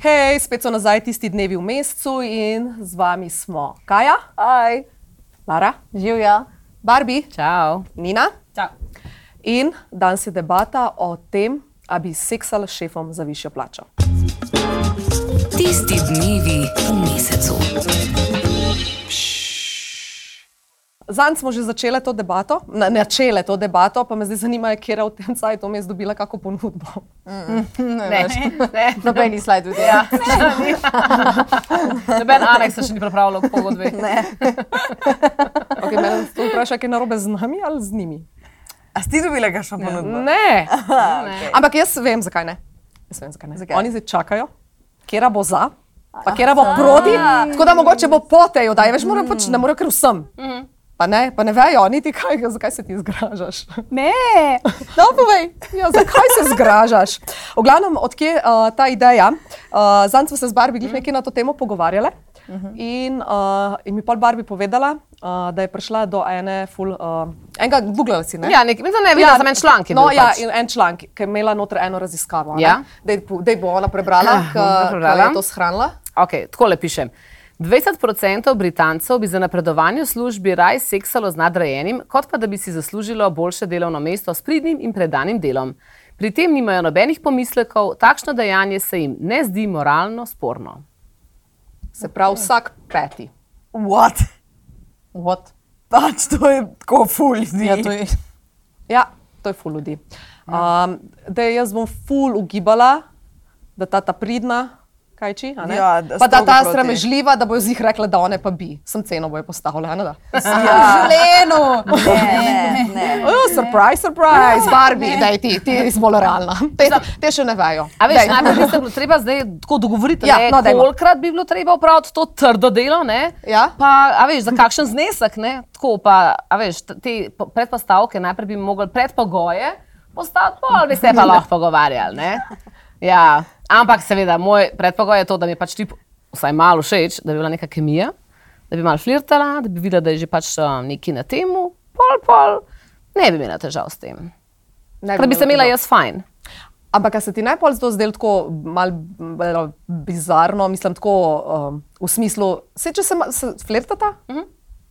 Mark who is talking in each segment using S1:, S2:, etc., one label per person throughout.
S1: Hej, spet so nazaj tisti dnevi v mesecu in z vami smo Kaja,
S2: Aj,
S1: Lara,
S2: živijo.
S1: Barbi,
S2: Čau.
S1: Nina.
S2: Čau.
S1: In danes je debata o tem, ali bi seksal s šefom za višjo plačo.
S3: Tisti dnevi v mesecu.
S1: Zanj smo že začele to debato, na, načele to debato, pa me zdaj zanima, kje je v tem cajtu vmes dobila kako ponudbo.
S2: Ne, ne. Nobeni slajdu. Ja.
S4: Noben aneks se še ni pripravljal k pogodbi.
S1: Okay, mene to vpraša, kaj je narobe z nami ali z njimi.
S5: A si ti dobila kakšno ponudbo?
S1: Ne. Ampak jaz vem, zakaj ne. Jaz vem, zakaj ne. Zakaj? Oni zdaj čakajo, kje bo za, pa kje bo proti. Tako da mogoče bo potejo, da je več, mora pač, ne morejo ker vsem. Pa ne, pa ne vejo, niti kaj, zakaj se ti zgražaš.
S2: Ne.
S1: No, povej, ja, zakaj se zgražaš? V glavnem, odkje uh, ta ideja? Uh, Zanj smo se z Barbi glih nekaj na to temo pogovarjale. In, uh, in mi je pol Barbi povedala, uh, da je prišla do ene ful, uh, enega, googlala si, ne?
S4: Ja, nek, mislim, da ne, videla ja, sem en članek. je
S1: No,
S4: bil
S1: ja,
S4: pač.
S1: in en članek, ki je imela noter eno raziskavo. a ne.
S4: Ja. Ah,
S1: Daj po- Daj bo ona prebrala,
S4: bom
S1: kako
S4: prebrala.
S1: je to shranila.
S4: okay, tako le pišem. 20% Britancev bi za napredovanje v službi raj seksalo z nadrejenim, kot pa da bi si zaslužilo boljše delovno mesto s pridnim in predanim delom. Pri tem nimajo nobenih pomislekov, takšno dejanje se jim ne zdi moralno sporno.
S1: Se pravi, vsak peti.
S5: What?
S2: What?
S5: Pač to je tako ful ljudi.
S2: Ja, to je.
S1: Ja, to je ful ljudi.
S4: Ja.
S1: Um, da jaz bom ful ugibala, da ta, ta pridna, kaj či, a ne?
S5: Ja, da
S1: pa da
S5: strogo
S1: ta
S5: proti.
S1: sramežljiva, da bojo z njih rekla, da one pa bi. Sem ceno bojo postavila, a ne da.
S4: Ja.
S2: Življenju.
S5: Ne, ne.
S1: Oh, surprise,
S4: Ja.
S1: surprise, Barbie, daj ti, ti si bolj realna. Te, te še ne vejo.
S4: A veš,
S1: Daj.
S4: najprej bi se bilo treba zdaj tako dogovoriti,
S1: Ja,
S4: ja, ne,
S1: no,
S4: no,
S1: dajmo.
S4: kolikrat bi bilo treba upraviti to trdo delo, ne?
S1: Ja.
S4: Pa, a veš, za kakšen znesek, ne? Tako pa, a veš, t- te po- predpostavke najprej bi mogli predpogoje postaviti, pol bi se
S1: Ja.
S4: pa lahko pogovarjali, ne? Ja, ampak seveda, moj predpogoj je to, da mi je pač tip vsaj malo všeč, da bi bila neka kemija, da bi malo flirtala, da bi videla, da je že pač uh, neki na temu, pol, pol, ne bi imela težav s tem.
S1: Ne bi
S4: Ker bi se
S1: imela
S4: imela
S1: težav.
S4: jaz fajn.
S1: Ampak a se ti najbolj zdelo zdel tako malo bizarno, mislim, tako um, v smislu, se če se, ma- se flirtata, uh -huh.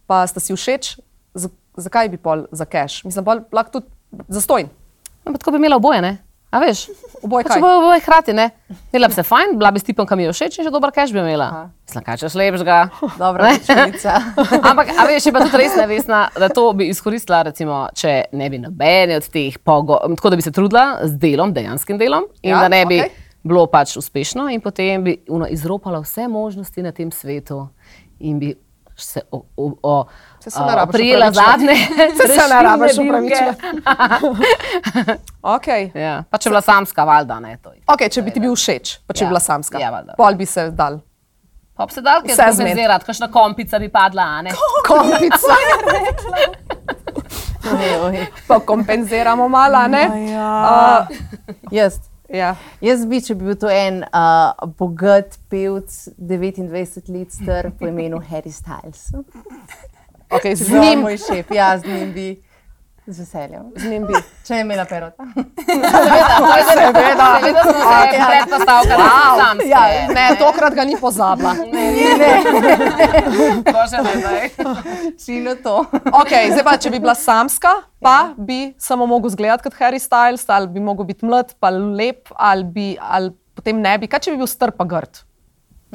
S1: pa sta si všeč, z, zakaj bi pol za cash? Mislim, pol lahko tudi zastojn.
S4: No, pa tako bi imela oboje, ne? A veš?
S1: Oboje
S4: pač
S1: kaj?
S4: oboje, oboje hkrati, ne? Imela bi se fajn, bila bi s tipom, kam je všeč in še dober cash bi imela. Mislim, kaj če šlepš ga.
S2: Dobra rečenica.
S4: Ampak, a veš, je pa tudi res nevestna, da to bi izkoristila, recimo, če ne bi nobene od teh pogojev, tako da bi se trudila z delom, dejanskim delom in
S1: Ja,
S4: ja, da ne bi
S1: okej.
S4: okay. bilo pač uspešno in potem bi uno, izropala vse možnosti na tem svetu in bi se o, o, o,
S1: Saj se ne rabiš
S4: prijela
S1: opravičila.
S4: zadnje.
S1: Saj se ne
S4: rešilne
S1: rabiš
S4: bilke.
S1: Okay.
S4: Ja, pa če je bila samska, valjda ne to.
S1: Okay, če bi ti bil všeč, pa če ja.
S4: Ja.
S1: bi bila samska,
S4: Ja, valjda.
S1: pol bi se dal.
S4: Pa bi se dal,
S1: Vse
S4: kaj
S1: zmed.
S4: zmerati, kakšna kompica bi padla, a ne?
S1: Kompica,
S2: Oj, oj.
S1: pa kompenziramo malo, a ne?
S5: Ja.
S2: Jaz.
S1: Ja.
S2: Jaz bi, če bi bil to en uh, bogat pevc, 29 let star, po imenu Harry Styles.
S1: Okay, z
S2: Z njim,
S1: njim,
S2: moj šef, ja, z njim bi. Z veseljem.
S1: z njim bi.
S2: Če je imela perota.
S4: Seveda, seveda smo se
S2: ja.
S4: predpostavka, da sem samska.
S2: Ja,
S1: Ne, tokrat ga ni pozabila.
S4: Bože, ne, ne.
S2: Čino to.
S1: Okay, zdaj pa, če bi bila samska, pa ja. bi samo mogel zgledati kot Harry Styles, ali bi mogel biti mlad, pa lep, ali, bi, ali potem ne bi. Kaj če bi bil star pa grd?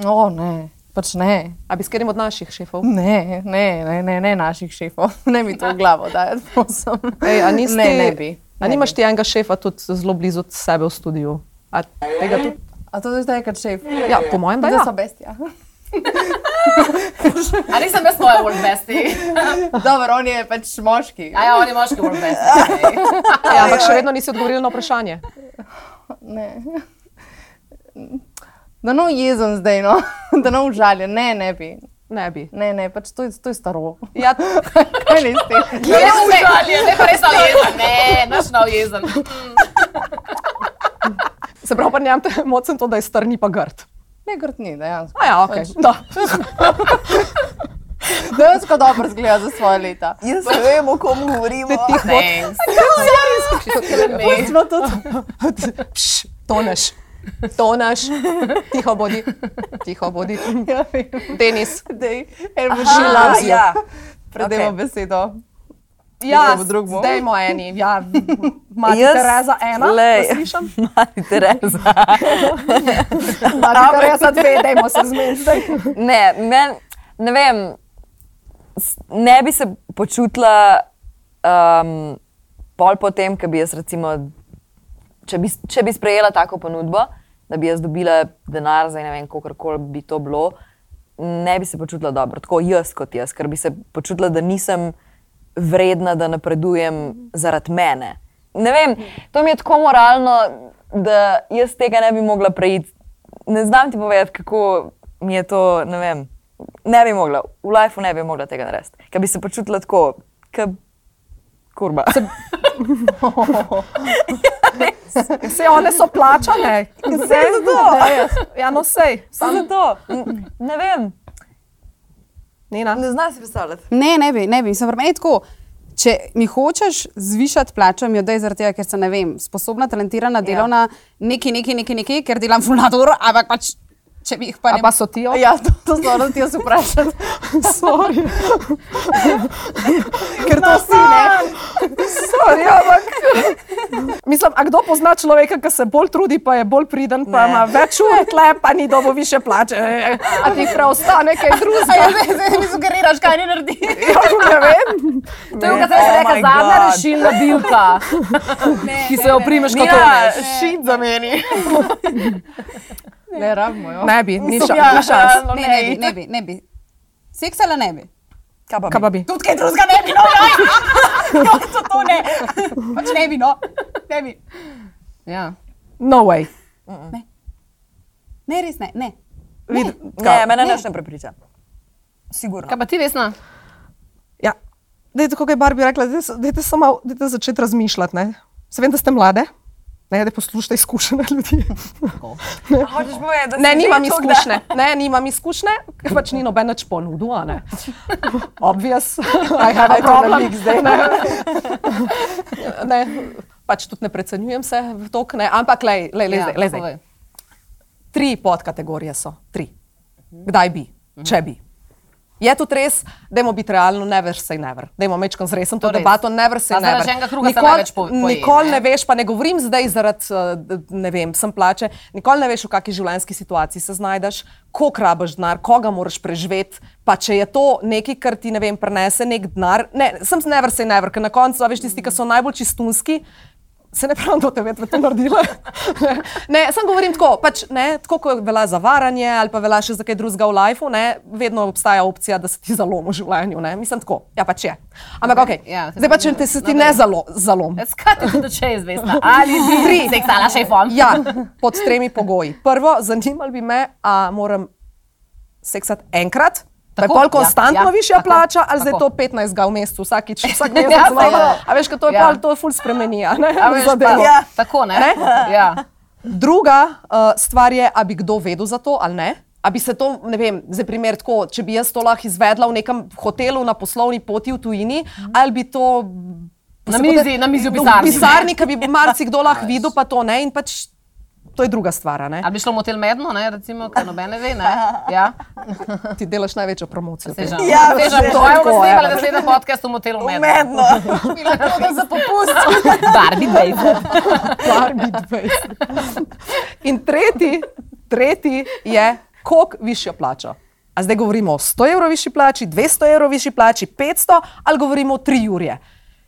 S2: No, ne, pač ne.
S1: A bi s katerim od naših šefov?
S2: Ne, ne, ne, ne, ne naših šefov, ne mi to v glavo dajati, prosim.
S1: Ej, a nisi
S2: ne,
S1: ti-
S2: ne bi.
S1: A
S2: Ne
S1: nimaš
S2: bi.
S1: ti enega šefa tudi zelo blizu sebe v studiu? A tega tudi?
S2: A to zdaj je kot šef?
S1: Ja, po mojem, da
S2: da
S1: ja.
S2: so bestija.
S4: A nisem jaz tvoja world besti.
S2: Dobro, on je pač moški.
S4: A ja, on je moški world besti.
S1: ja, ampak še vedno nisi odgovoril na vprašanje.
S2: Ne. Da no jezen zdaj, no. da no užaljen, ne, ne bi.
S1: Ne bi.
S2: Ne, ne, pač to je, to je staro.
S1: Ja,
S2: Kaj ne ste?
S4: Ne, ne, ne, pa res nov jezen. Ne, naš nov jezen.
S1: se pravi, pa njem te mocen to, da je star, ni pa grd.
S2: Ne, grtni, dejansko.
S1: A ja, ok.
S4: Pač.
S1: Da.
S2: Dejansko dobro zgleda za svoje leta.
S5: Jaz ne vem, o kom govorimo.
S4: Thanks.
S2: Smo tudi
S1: Pš, toneš. tonaš, tiho bodi, tiho bodi.
S2: Ja, vem.
S1: Denis,
S2: Dej, en bo
S1: Aha,
S2: šila.
S1: loves you.
S5: ja.
S2: Predajmo
S5: Okej.
S2: okay. besedo.
S1: ja,
S2: Drugo, drugo.
S1: dajmo eni, ja, mati
S5: Jaz-
S1: Tereza ena,
S5: Glej.
S1: da slišim,
S5: Mati Tereza.
S1: mati Tereza dve, dajmo se zmeniti.
S6: Ne, men, ne vem, s- ne bi se počutila um, pol potem, ko bi jaz, recimo, če bi, če bi sprejela tako ponudbo, da bi jaz dobila denar za ne vem, kako koli bi to bilo, ne bi se počutila dobro, tako jaz kot jaz, ker bi se počutila, da nisem vredna, da napredujem zaradi mene. Ne vem, to mi je tako moralno, da jaz tega ne bi mogla preiti. Ne znam ti povedati, kako mi je to, ne vem, ne bi mogla, v lifeu ne bi mogla tega narediti, ker bi se počutila tako, kot kurba.
S1: Vse one so plačane, vse je to. Ja, no sej, samo to.
S6: N- Ne vem.
S1: Nina.
S5: Ne znaš si predstavljati.
S7: Ne, ne bi, ne bi. Mislim, pri meni je tako. Če mi hočeš zvišati plačo, mi jo daj zaradi tega, ker sem, ne vem, sposobna, talentirana, delovna, nekaj, nekaj, nekaj, nekaj, ker delam fulnado uro, ampak pač, če bi jih pa
S1: A
S7: ne.
S1: pa so ti,
S2: Ja, to, to zelo ti jaz vprašam.
S1: sorry.
S2: Ker to si ne.
S1: sorry ampak... Mislim, a kdo pozna človeka, ki se bolj trudi, pa je bolj priden, pa ima več ur, tle pa ni dobo više plače. A ti preostane kaj drugega?
S2: Ja, zdaj zdaj mi sugeriraš, kaj ne naredi.
S1: Ja, ne vem. Oh
S4: To je, kar se reče, zadnja rešilna bilka, ki se jo primeš kot
S5: Ja,
S4: ona.
S5: šit za meni.
S2: Ne rabimo jo.
S1: Ne bi, ni ša-
S2: Ja,
S1: ni šans.
S2: no,
S7: Ne, ne bi, ne bi, ne bi. Seks ali ne bi?
S5: Kaj pa?
S1: Kaj pa bi?
S7: Tudi kaj drugega ne bi, no, ja, ja. to, to ne. Pač ne bi, no, ne bi.
S4: Ja.
S1: No way.
S7: Ne, res ne, ne.
S1: Vid,
S6: Ne, mene nič ne prepriča.
S4: Kaj pa ti, Vesna?
S1: ja. Dajte, kako je Barbie rekla, dajte, se- dajte, se malo- dajte začeti razmišljati. Ne? Se vem, da ste mlade, ne, da poslušate izkušene ljudi.
S6: Hočeš povedati, da
S1: Ne, nimam izkušnje. Ne, nimam izkušnje, ker pač ni noben več ponudil. a ne. Obvious, I have a problem. Ne, ne, pač tudi ne precenjujem se v to, ne. ampak le, le, le, ja, zdaj, le zdaj.
S4: povej.
S1: Tri podkategorije so, tri. Kdaj bi, če bi. Je tudi res, da moramo biti realni, never say never. Da moramo mečkam zresen to, to
S4: To res.
S1: debato, never say
S4: Pa zaradi
S1: never.
S4: enega kruha se največ po- poje,
S1: nikoli
S4: ne?
S1: ne veš, pa ne govorim zdaj zaradi, eh, d- ne vem, sem plače, nikoli ne veš, v kakšni življenjski situaciji se znajdeš, koliko rabaš denar, koga moraš preživeti. Pa če je to nekaj, kar ti ne vem, prenese nek denar, ne, sem never say never, ker na koncu, a veš, tisti, ki so najbolj čistunski, Se ne pravim, da te vedno to naredila. ne, sam govorim tako, pač, ne, tako kot velja za varanje ali pa velja še za kaj drugega v lifeu, ne, vedno obstaja opcija, da se ti zalomi v življenju. Ne. Mislim tako, ja pač je. Ampak ok, okay.
S4: ja,
S1: Ja,
S4: se
S1: zdaj pa če
S4: pravi,
S1: te se ti
S4: no,
S1: ne
S4: dobro.
S1: zalo, zalom.
S4: Skati ti do čez, Vesna. Ali bi seksala šefom?
S1: Ja, pod tremi pogoji. Prvo, zanimalo bi me, a moram seksati enkrat. Tako,
S4: Tako,
S1: pol
S4: ja,
S1: konstantno ja,
S4: ja,
S1: višja
S4: tako,
S1: tako, plača, ali zdaj
S4: tako.
S1: to 15 ga v mesecu, vsakič, vsak mesec.
S4: Ja,
S1: znova?
S4: saj, ja.
S1: a veš, kaj to je
S4: Ja.
S1: ja. pol, to je ful spremeni. a Ne,
S4: A veš, pa,
S1: zadevo.
S4: ja. Tako ne?
S1: Ne?
S4: Ja.
S1: Druga uh, stvar je, ali bi kdo vedel za to ali ne. A bi se to, ne vem, za primer, tako, če bi jaz to lahko izvedla v nekem hotelu na poslovni poti v tujini, ali bi to.
S4: Na
S1: se potem-
S4: mizi, na mizi v
S1: V
S4: pisarni.
S1: pisarni, ki bi marsikdo lahko videl, pa to ne. In pač to je druga stvar. a Ne?
S4: Ali bi šlo v motel medno, ne, recimo, ker nobene ve, ne? Ja.
S1: Ti delaš največjo promocijo.
S4: Sežam.
S5: Ja,
S4: Sežam,
S5: sežam,
S4: to je
S1: tako,
S4: posnemala,
S1: evo.
S4: da sedem podcast v motelu medno.
S5: Umedno.
S2: Bila to, da za popust.
S4: Barbie baby.
S1: Barbie 20. In tretji, tretji je, koliko višjo plačo. A zdaj govorimo o 100 evrov višji plači, 200 evrov višji plači, 500 ali govorimo o 3 jurje.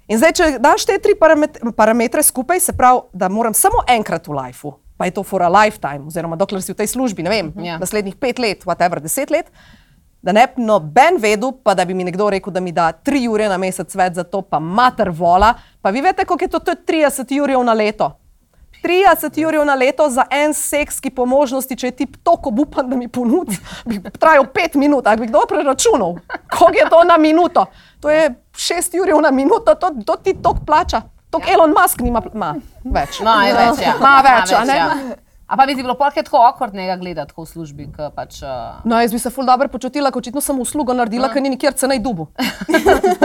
S1: In zdaj, če daš te tri paramet- parametre skupaj, se pravi, da moram samo enkrat v lifeu, pa je to for a lifetime, oziroma dokler si v tej službi, ne vem,
S4: Ja.
S1: yeah. naslednjih pet let, whatever, deset let, da ne bi noben vedel, pa da bi mi nekdo rekel, da mi da tri ure na mesec več za to, pa mater vola, pa vi veste, koliko je to, to je 30 urjev na leto. 30 ur na leto za en seks, ki po možnosti, če je ti tako obupan, da mi ponudi, bi trajal 5 minut, ali bi kdo preračunal, koliko je to na minuto. To je 6 ur na minuto, to, to ti tok plača. Tok ja. Elon Musk nima pl- ma, več.
S4: No, je več, ja.
S1: Ma več, a ne?
S4: ja. A pa bi ti bilo polkrat tako okordnega gledati, tako v službi, ko pač... Uh,
S1: No, jaz bi se ful dobro počutila, ko očitno sem uslugo naredila, mm. ker ni nikjer cenej dubu.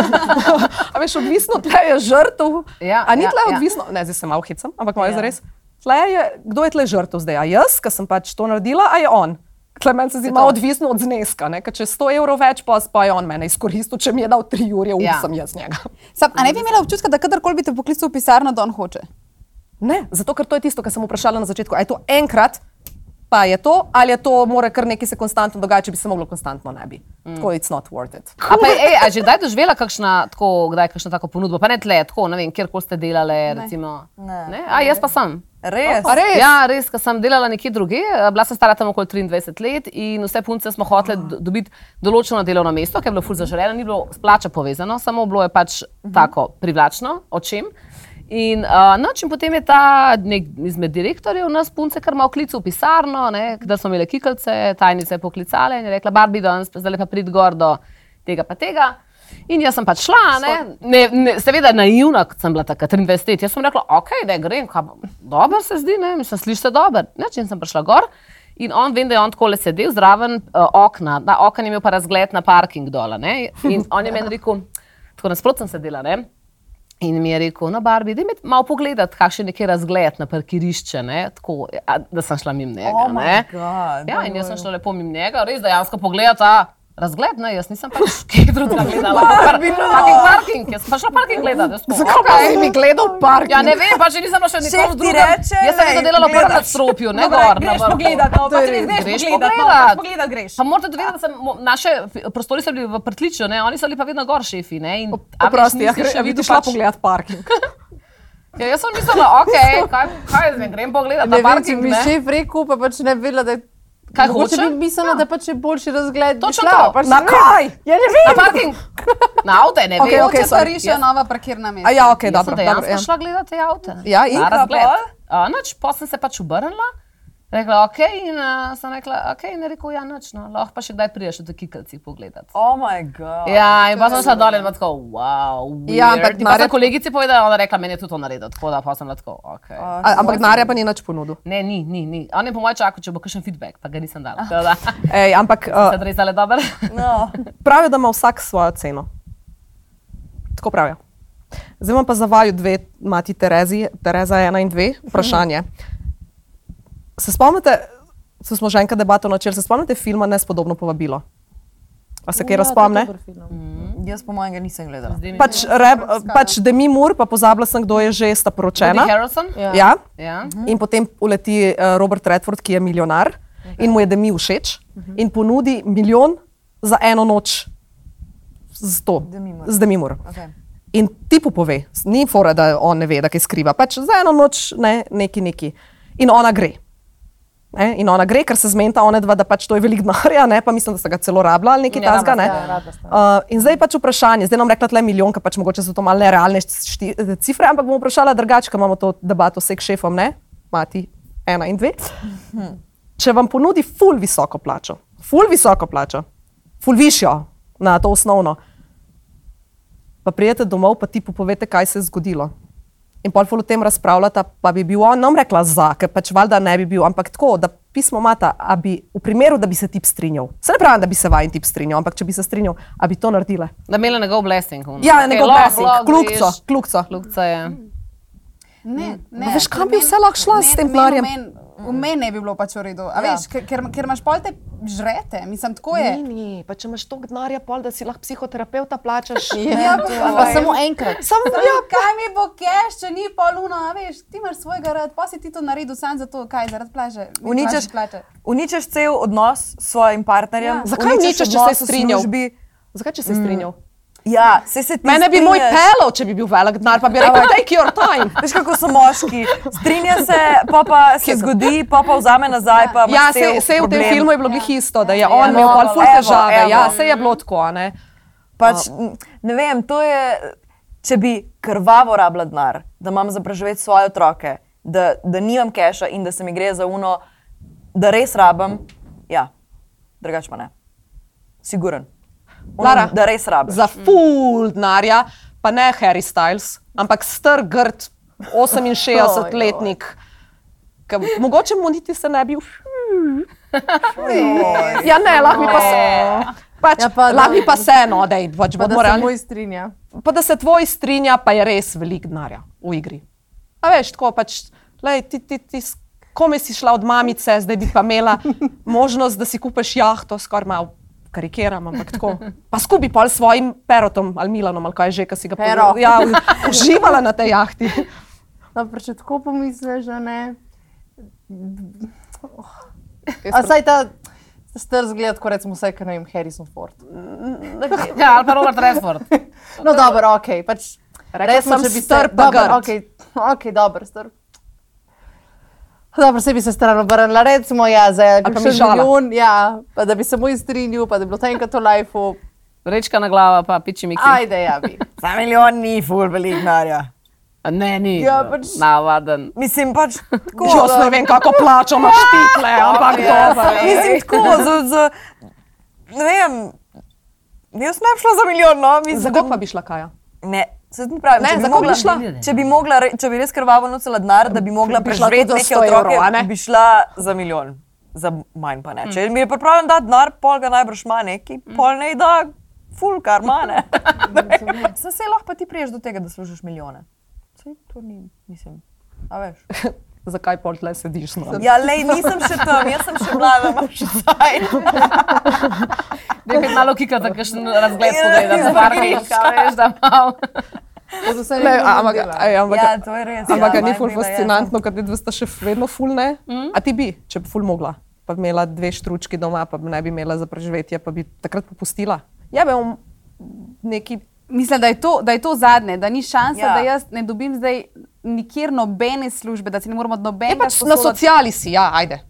S1: a veš, odvisno tle je žrtev.
S4: Ja,
S1: a ni
S4: ja,
S1: tle
S4: ja.
S1: odvisno, ne, zdaj se malo hecam, ampak moje ja. zares. tle je, kdo je tle žrtev zdaj? A jaz, ker sem pač to naredila, a je on? Tle meni se zdi malo odvisno od zneska. Ne? Ker če je 100 evrov več, pa, pa je on mene izkoristil, če mi je dal 3 ure, up
S4: Ja.
S1: ja. sem jaz njega.
S7: Sam, a ne bi imela občutka, da kadarkoli bi te poklical v pisarno, da on hoče?
S1: Ne, zato ker to je tisto, kar sem vprašala na začetku. A je to enkrat, pa je to, ali je to, mora kar nekaj se konstantno dogaja, če bi se moglo konstantno ne bi. Mm. Tako je, it's not worth it.
S4: A, pa, ej, a že kdaj doživela kakšna, tako, kdaj kakšno tako ponudbo? Pa ne tle, tako, ne vem, kjerkoli ste delali. Recimo, ne. Ne? A jaz pa sem.
S5: Res.
S1: A res?
S4: Ja, res, ker sem delala nekje druge, bila sem stara tam okoli 23 let in vse punce smo hotele do- dobiti določeno delovno mesto, ker je bilo ful zaželeno, ni bilo s plača povezano, samo bilo je pač tako privlačno, očem. In uh, noč in potem je ta nek izmed direktorjev nas punce kar malo klical v pisarno, ne, da smo imeli kikalce, tajnice poklicale in je rekla, Barbi, danes pa zdaj pa prid gor do tega pa tega. In jaz sem pač šla, a ne? Ne, ne, seveda naivna, kot sem bila takrat 23 let. Jaz sem rekla, ok, ne grem, kaj bo- dobro se zdi, ne, mislim, slišiš se dobro. Neč in sem prišla gor. In on, vem, da je on tako le sedel zraven uh, okna, na okna je imel pa razgled na parking dola. Ne? In on je meni rekel, tako nasprotno sem sedela. Ne? In mi je rekel, no, Barbi, da mi malo pogledati, kakšen je nekje razgled na parkirišče, ne? tako a, da sem šla mimo njega.
S5: Oh my
S4: ne.
S5: God,
S4: ja, in jaz sem šla lepo mimo njega, res dejansko pogledati ta razgled, ne, jaz nisem pač kaj drugega gledala. Parking, parking, jaz sem pa šla parking gledati.
S1: Zakaj pa si mi gledal park?
S4: Ja, ne vem, pač nisem bila še nikoli
S5: Šef ti
S4: v drugem.
S5: reče,
S4: Jaz sem
S5: lej,
S4: vedno delala v prvem
S5: gledaš.
S4: nadstropju, ne gor. na vrhu. Torej,
S1: no, pa če ne
S4: Greš pogledat.
S1: pogledat no, greš.
S4: Pa morate vedeti, da sem, mo- naše f- prostori so bili v prtličju, ne? oni so bili pa vedno gor šefi. Ne? In, a veš,
S1: Oprosti, ja,
S4: nisi še
S1: ja,
S4: videl
S1: vidiš šla
S4: pač-
S1: pogledat park.
S4: Ja, jaz sem mislila, ok, kaj, kaj jaz ne grem pogledat, na
S2: Ne vem, če
S4: parking,
S2: bi
S4: ne.
S2: šef rekel, pa pač ne bi vedela, da je.
S4: Kaj
S2: Mogoče
S4: hoče?
S2: bi mislila, da pač je boljši razgled. bi
S4: Točno
S2: šla,
S4: to.
S2: pač
S1: Na
S2: ne vem.
S1: kaj?
S2: Ja, ne vem.
S4: Na parking, na avto, ne
S1: Okej,
S4: vem.
S1: okej,
S7: Če
S1: sorry.
S7: pa rišejo nova parkirna
S1: A
S7: mesta.
S1: ja, ok,
S4: Jaz
S1: dobro. dobro
S4: sem dejansko
S1: ja.
S4: šla gledat te avte.
S1: Ja, in
S4: Na
S1: kaj
S4: razgled.
S1: pol?
S4: A, Nič, potem sem se pač obrnila. Rekla, ok, in uh, sem rekla, ok, in je rekel, ja, nič, no, lahko pa še kdaj priješ v kikalcih pogledat.
S5: Oh my god.
S4: Ja, in pa sem šla dol in bila tako, wow,
S1: Ja,
S4: weird.
S1: ampak
S4: In pa
S1: Marja-
S4: sem kolegici povedala, ona je rekla, meni je tudi to naredil, tako da pa sem bila tako, ok.
S1: A, ampak denarja pa ni nič ponudil.
S4: Ne, ni, ni, ni. On je po mojem čakal, če bo kakšen feedback, pa ga nisem dala. Tako da,
S1: Ej, ampak
S4: se
S1: uh,
S4: je res dale dobro.
S5: No.
S1: pravijo, da ima vsak svojo ceno. Tako pravijo. Zdaj imam pa za vaju dve, mati Terezi, Tereza ena in dve, vprašanje. Se spomnite, se smo že enkrat debato načeli, se spomnite filma Nespodobno povabilo? A
S4: Ja,
S1: se kaj
S2: Ja,
S1: razpomne?
S2: no.
S1: Mhm.
S5: Jaz po mojem ga nisem gledala.
S1: Pač,
S4: ja.
S1: rep, pač Demi Moore, pa pozabila sem, kdo je že sta poročena.
S4: Woody Harrelson?
S1: Ja. ja.
S4: Ja.
S1: In potem uleti uh, Robert Redford, ki je milijonar okay. in mu je Demi všeč in ponudi milijon za eno noč z to,
S5: Demi Moore.
S1: z Demimur.
S5: Okay.
S1: In ti pove, ni fora, da on ne ve, da kaj skriva, pač za eno noč ne, neki neki. In ona gre. Ne? In ona gre, ker se zmenta ona dva, da pač to je velik denarja, ne? pa mislim, da sta ga celo rabila ali nekaj
S4: Ja,
S1: tasga.
S4: rabila
S1: Ne?
S4: sta, ja,
S1: Uh, in zdaj je pač vprašanje, zdaj nam rekla tle milijon, ker pač mogoče so to malce nerealne šti, cifre, ampak bom vprašala drugače, ker imamo to debato vseh šefom, ne, mati ena in dve. Če vam ponudi ful visoko plačo, ful visoko plačo, ful višjo na to osnovno, pa prijete domov, pa ti povete, kaj se je zgodilo. In pol ful o tem razpravljata, pa bi bil on, nam rekla za, ker pač valjda ne bi bil, ampak tako, da pismo mata, a bi v primeru, da bi se tip strinjal. Se ne pravim, da bi se vajen tip strinjal, ampak če bi se strinjal, a bi to naredile.
S4: Da imela njegov blessing.
S1: Ja, okay, njegov blessing, kljukco, kljukco.
S4: Klukca je.
S7: Ne, ne.
S1: Pa veš, kam bi
S7: pri meni-
S1: vse lahko šla s
S7: meni-
S1: tem
S7: meni-
S1: denarjem?
S7: meni- V meni ne bi bilo pač v redu, a veš, ker, ker- ker imaš pol te žrete, mislim, tako je.
S1: ni, pa če imaš toliko denarja, pol, da si lahko psihoterapeuta plačaš.
S2: Ja, ali pa samo enkrat.
S1: Samo
S7: Ja, kaj mi bo keš, če ni poluna, veš, ti imaš svojega rad, pa si ti to naredil sam zato, kaj zaradi plaže. Mi
S5: Uničeš,
S7: plače.
S5: uničeš cel odnos s svojim partnerjem.
S7: Ja.
S1: Zakaj uničeš, če se je
S5: odnos v
S1: strinjal?
S5: službi.
S1: Zakaj če se je strinjal? eh,
S5: Ja, se se ti
S1: Mm. Mene bi moj
S5: strinjaš.
S1: pelal, če bi bil velik denar, pa bi rekel: Take your time.
S5: Veš, kako so moški. Strinja se, pa, pa se zgodi, pa, pa vzame nazaj. Pa
S1: Ja, se, se v tem filmu je bilo glih isto, da je on
S5: Ja.
S1: imel pol ful
S5: Evo,
S1: težave.
S5: evo.
S1: Ja, se je bilo tako, a ne.
S5: Pač, n- ne vem, to je, če bi krvavo rabila denar, da imam za preživeti svoje otroke, da, da nimam keša in da se mi gre za uno, da res rabim. Ja, drugače pa ne. Siguren. Ono,
S1: Lara,
S5: da res rabim.
S1: Za ful denarja, pa ne Harry Styles, ampak star grd, 68-letnik. Ke, mogoče mu niti se ne bi. Ja, ne, lahko mi pa se. Pač,
S2: Ja,
S1: ja,
S2: pa
S1: pa,
S2: da-
S1: lahko mi pa se, no, dej, pač,
S2: Pa
S1: pa,
S2: da
S1: da
S2: se
S1: moralni,
S2: moj strinja.
S1: pa da se tvoj strinja, pa je res velik denarja v igri. A veš, tako pač lej, ti, ti, ti, s- komaj si šla od mamice, zdaj bi pa imela možnost, da si kupiš jahto, skoraj malo karikiram, ampak tako. Pa skupaj pol s svojim perotom ali Milanom, ali kaj že, ki si ga
S2: Pero.
S1: pol- Ja, u- uživala na tej jahti.
S2: No, pa če tako pomisliš, da ne. Oh. A saj ta star zgled, kot recimo vse, kar ne vem, Harrison Ford.
S4: Ja, ali pa Robert Redford.
S2: No, dobro, ok. Pač,
S1: Rekla
S2: recimo,
S1: sem
S2: če bi se-
S1: star pa
S2: dobro,
S1: grd.
S2: Okay, ok, dobro, star. Dobro, se bi se stran obrnila, recimo, ja, za
S1: pa
S2: kakšen
S1: mižala.
S2: milijon, ja, pa da bi se mu iztrinil, pa da bi bilo to enkrat v lifeu.
S4: Rečka na glava, pa piči mi kaj.
S2: Ajde, ja, bi.
S5: Ta milijon ni ful velik denarja.
S4: Ne, ni.
S5: Ja, pač-
S4: Navaden.
S5: Mislim pač tako.
S1: Jaz
S5: da-
S1: ne vem, kako plačo imaš ti tle, ampak dobro.
S5: Mislim tako, za, za, ne vem, jaz ne bi šla za milijon, no, mislim.
S1: Za koliko pa bi šla kaja?
S5: Ne, se ti pravim,
S1: Ne,
S5: če bi
S1: za koliko bi
S5: mogla-
S1: šla?
S5: Če bi, mogla, re- če bi res krvavo nosila denar, da bi mogla
S1: Bi šla tudi
S5: preživeti
S1: za 100
S5: neke
S1: evrov,
S5: otroke,
S1: a ne?
S5: bi šla za milijon. Za manj pa ne.
S1: Mm.
S5: Če mi je pripravljen dati denar, pol ga najbrž ima neki, pol ne da, ful kar ima ne. Sem se lahko pa ti priješ do tega, da služiš milijone. Saj to ni, mislim, a veš.
S1: Zakaj pol tle sediš? No?
S5: Ja, lej, nisem še tam, jaz sem še mlada, imam še
S4: Nekaj malo kika, da kakšen razgled
S5: Ja,
S4: pogleda, da
S5: iz
S4: par veš, veš, da malo.
S1: Le, Ja, a- ampak, ej, ampak,
S5: Ja, to je res.
S1: Ampak
S5: ja,
S1: ja, ni
S5: manj
S1: ful
S5: dela je.
S1: fascinantno, ker ti sta še vedno ful ne. Mm. A ti bi, če bi ful mogla, pa bi imela dve štručki doma, pa bi ne bi imela za preživetje, pa bi takrat popustila. Ja, bi bom neki.
S7: Mislim, da je, to, da je to zadnje, da ni šansa,
S5: Ja.
S7: ja. da jaz ne dobim zdaj nikjer nobene službe, da si ne moramo od
S1: Je
S7: nobenega.
S1: pač na
S7: sposoditi.
S1: sociali si, ja, ajde.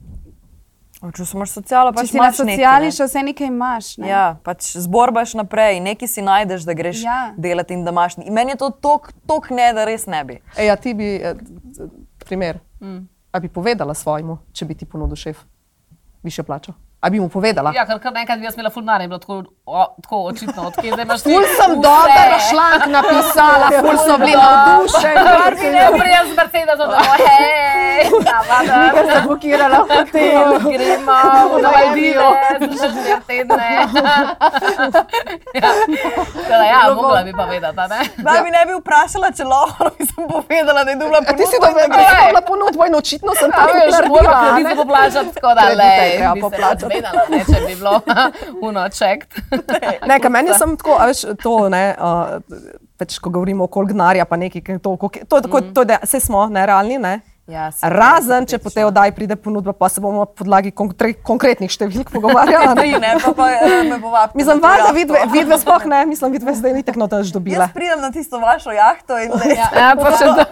S5: O, Če si imaš socialo,
S7: Če
S5: pač
S7: si na
S5: imaš nekaj,
S7: sociali,
S5: ne.
S7: še vse nekaj imaš. Ne?
S5: Ja, pač zborbaš naprej, nekaj si najdeš, da greš ja.
S7: Ja.
S5: delati in da imaš. In meni je to tok, tok ne, da res ne bi.
S1: E, ja, ti bi, eh, d- d- primer, mm. a bi povedala svojemu, če bi ti ponudil šef više plačo? A bi mu povedala?
S4: Ja, ker kar naenkrat bi jaz imela fulnare, bilo tako, o, tako očitno, odkje zdaj imaš ti.
S1: Ful sem dobro šlank napisala, ful so bili navdušeni.
S4: Ne prijem ja, z Mercedesom, da bo hej, navaden.
S2: Ker sem blokirala hotel.
S4: Gremo na Maldive, še štiri tedne. Ja, Tako da ja, mogla bi pa vedeti, a ne?
S5: Zdaj bi ne bi vprašala, če lahko bi sem povedala, da je dubla
S1: Ti si
S5: ponudba.
S1: dobro pripravila ponudbo in očitno sem
S4: A
S1: tam
S4: veš, mora
S1: naredila. a
S4: kredit
S1: ne.
S4: poplačati, tako da
S1: Kredite
S4: le,
S1: je treba
S4: bi se
S1: poplačati.
S4: razvedala, ne, če bi bilo uno checked.
S1: Ne, ka meni je samo tako, a veš, to ne. Uh, Pač, ko govorimo o kolgnarju, pa nekaj, ki je to, ko- to, to, to, to vse smo nerealni. Ne?
S2: Ja, se-
S1: Razen, če po tej oddaji pride ponudba, pa se bomo na podlagi kon tre- konkretnih številk pogovarjali.
S5: Tri,
S1: ne.
S5: ne, pa, pa eh, me povabite.
S1: Mislim,
S5: na to
S1: valjda
S5: jahto.
S1: vidve, vidve sploh ne, mislim, vidve zdaj ni tekno daš dobila.
S5: Jaz pridem na tisto vašo jahto in le, ja.
S4: Ja, pa še to.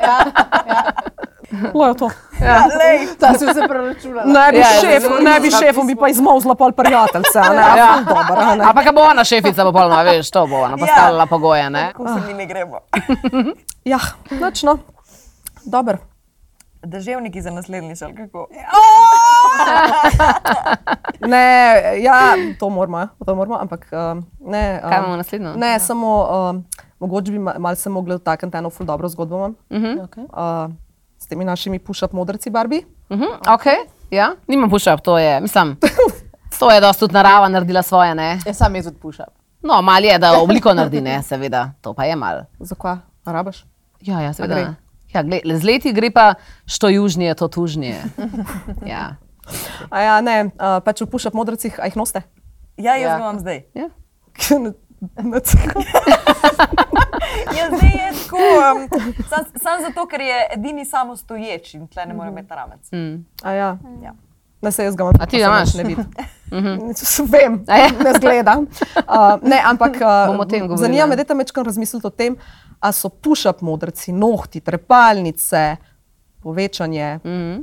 S1: Lojo to.
S5: ja, lej,
S2: Ta si vse preračunala.
S1: Ne bi,
S4: Ja,
S1: ja, šef, ne bi šefom, bi pa izmozla pol prijateljce. a Ne, ja. dober, a ne.
S4: Ampak ka bo ona šefica popolnoma, veš, to bo ona postavljala pogoje, ne?
S5: kako se mi ne gremo.
S1: Ja, nočno. Dober.
S5: Deževniki za naslednjič, ali kako?
S1: Ne, ja, to moramo, to moramo ampak um, ne. Um,
S4: Kaj imamo naslednjo?
S1: Ne, ja. samo um, mogoče bi ma- malo se mogli dotakniti eno ful dobro zgodbo. Imam, uh -huh. okay. uh, s temi našimi push-up modrci Barbi.
S4: Mhm, ok, ja. Nimam push-up, to je, mislim, to je dosti tudi narava naredila svoje, ne?
S2: Jaz sam jaz odpušam.
S4: No, mal je, da obliko naredi, ne, seveda, to pa je mal.
S1: Zakaj? A Rabaš?
S4: Ja, ja, seveda.
S1: gre?
S4: ne. Ja, gled, z leti gre pa, što južnije, to tužnije. Ja.
S1: A ja, ne, uh, pač v push-up modrcih, a jih noste.
S5: Ja, jaz
S4: Ja.
S5: ja. ga imam zdaj.
S1: Nec-
S5: Ja, zdaj je tako. Um, sam, sam zato, ker je edini samostoječ in tle ne morem imeti ramec.
S1: a ja.
S5: Ja.
S1: Ne, se jaz ga imam.
S4: A ti
S1: pa
S4: ga
S1: se
S4: imaš? Mhm.
S1: nič Ne vidim. Vem,
S4: A ja?
S1: ne zgledam. Uh, ne, ampak uh,
S4: Bomo o tem govorili,
S1: zanima me,
S4: ja.
S1: da tam večkrat razmislite o tem, ali so push-up modrci, nohti, trepalnice, povečanje
S4: Mhm.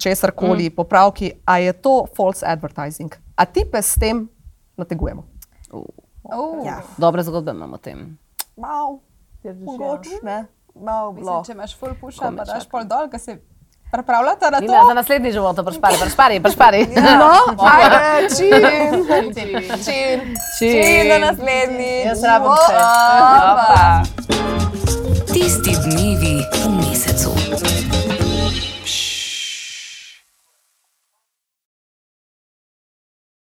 S1: česar koli, mm. popravki, a je to false advertising. A tipe s tem nategujemo.
S4: Dobre zgodbe imamo o tem.
S5: Mal, mogoče, ne, mal
S7: Mislim,
S5: bilo.
S7: če imaš full puša, pa daš pol dol, ker se pripravljata na to.
S4: Nina, za naslednji život, to Ja. pršpari, pršpari, pršpari.
S1: No, ajde, čim.
S5: In na naslednji.
S2: Jaz rabim vse.
S5: Opa.
S3: Tisti dnevi v mesecu.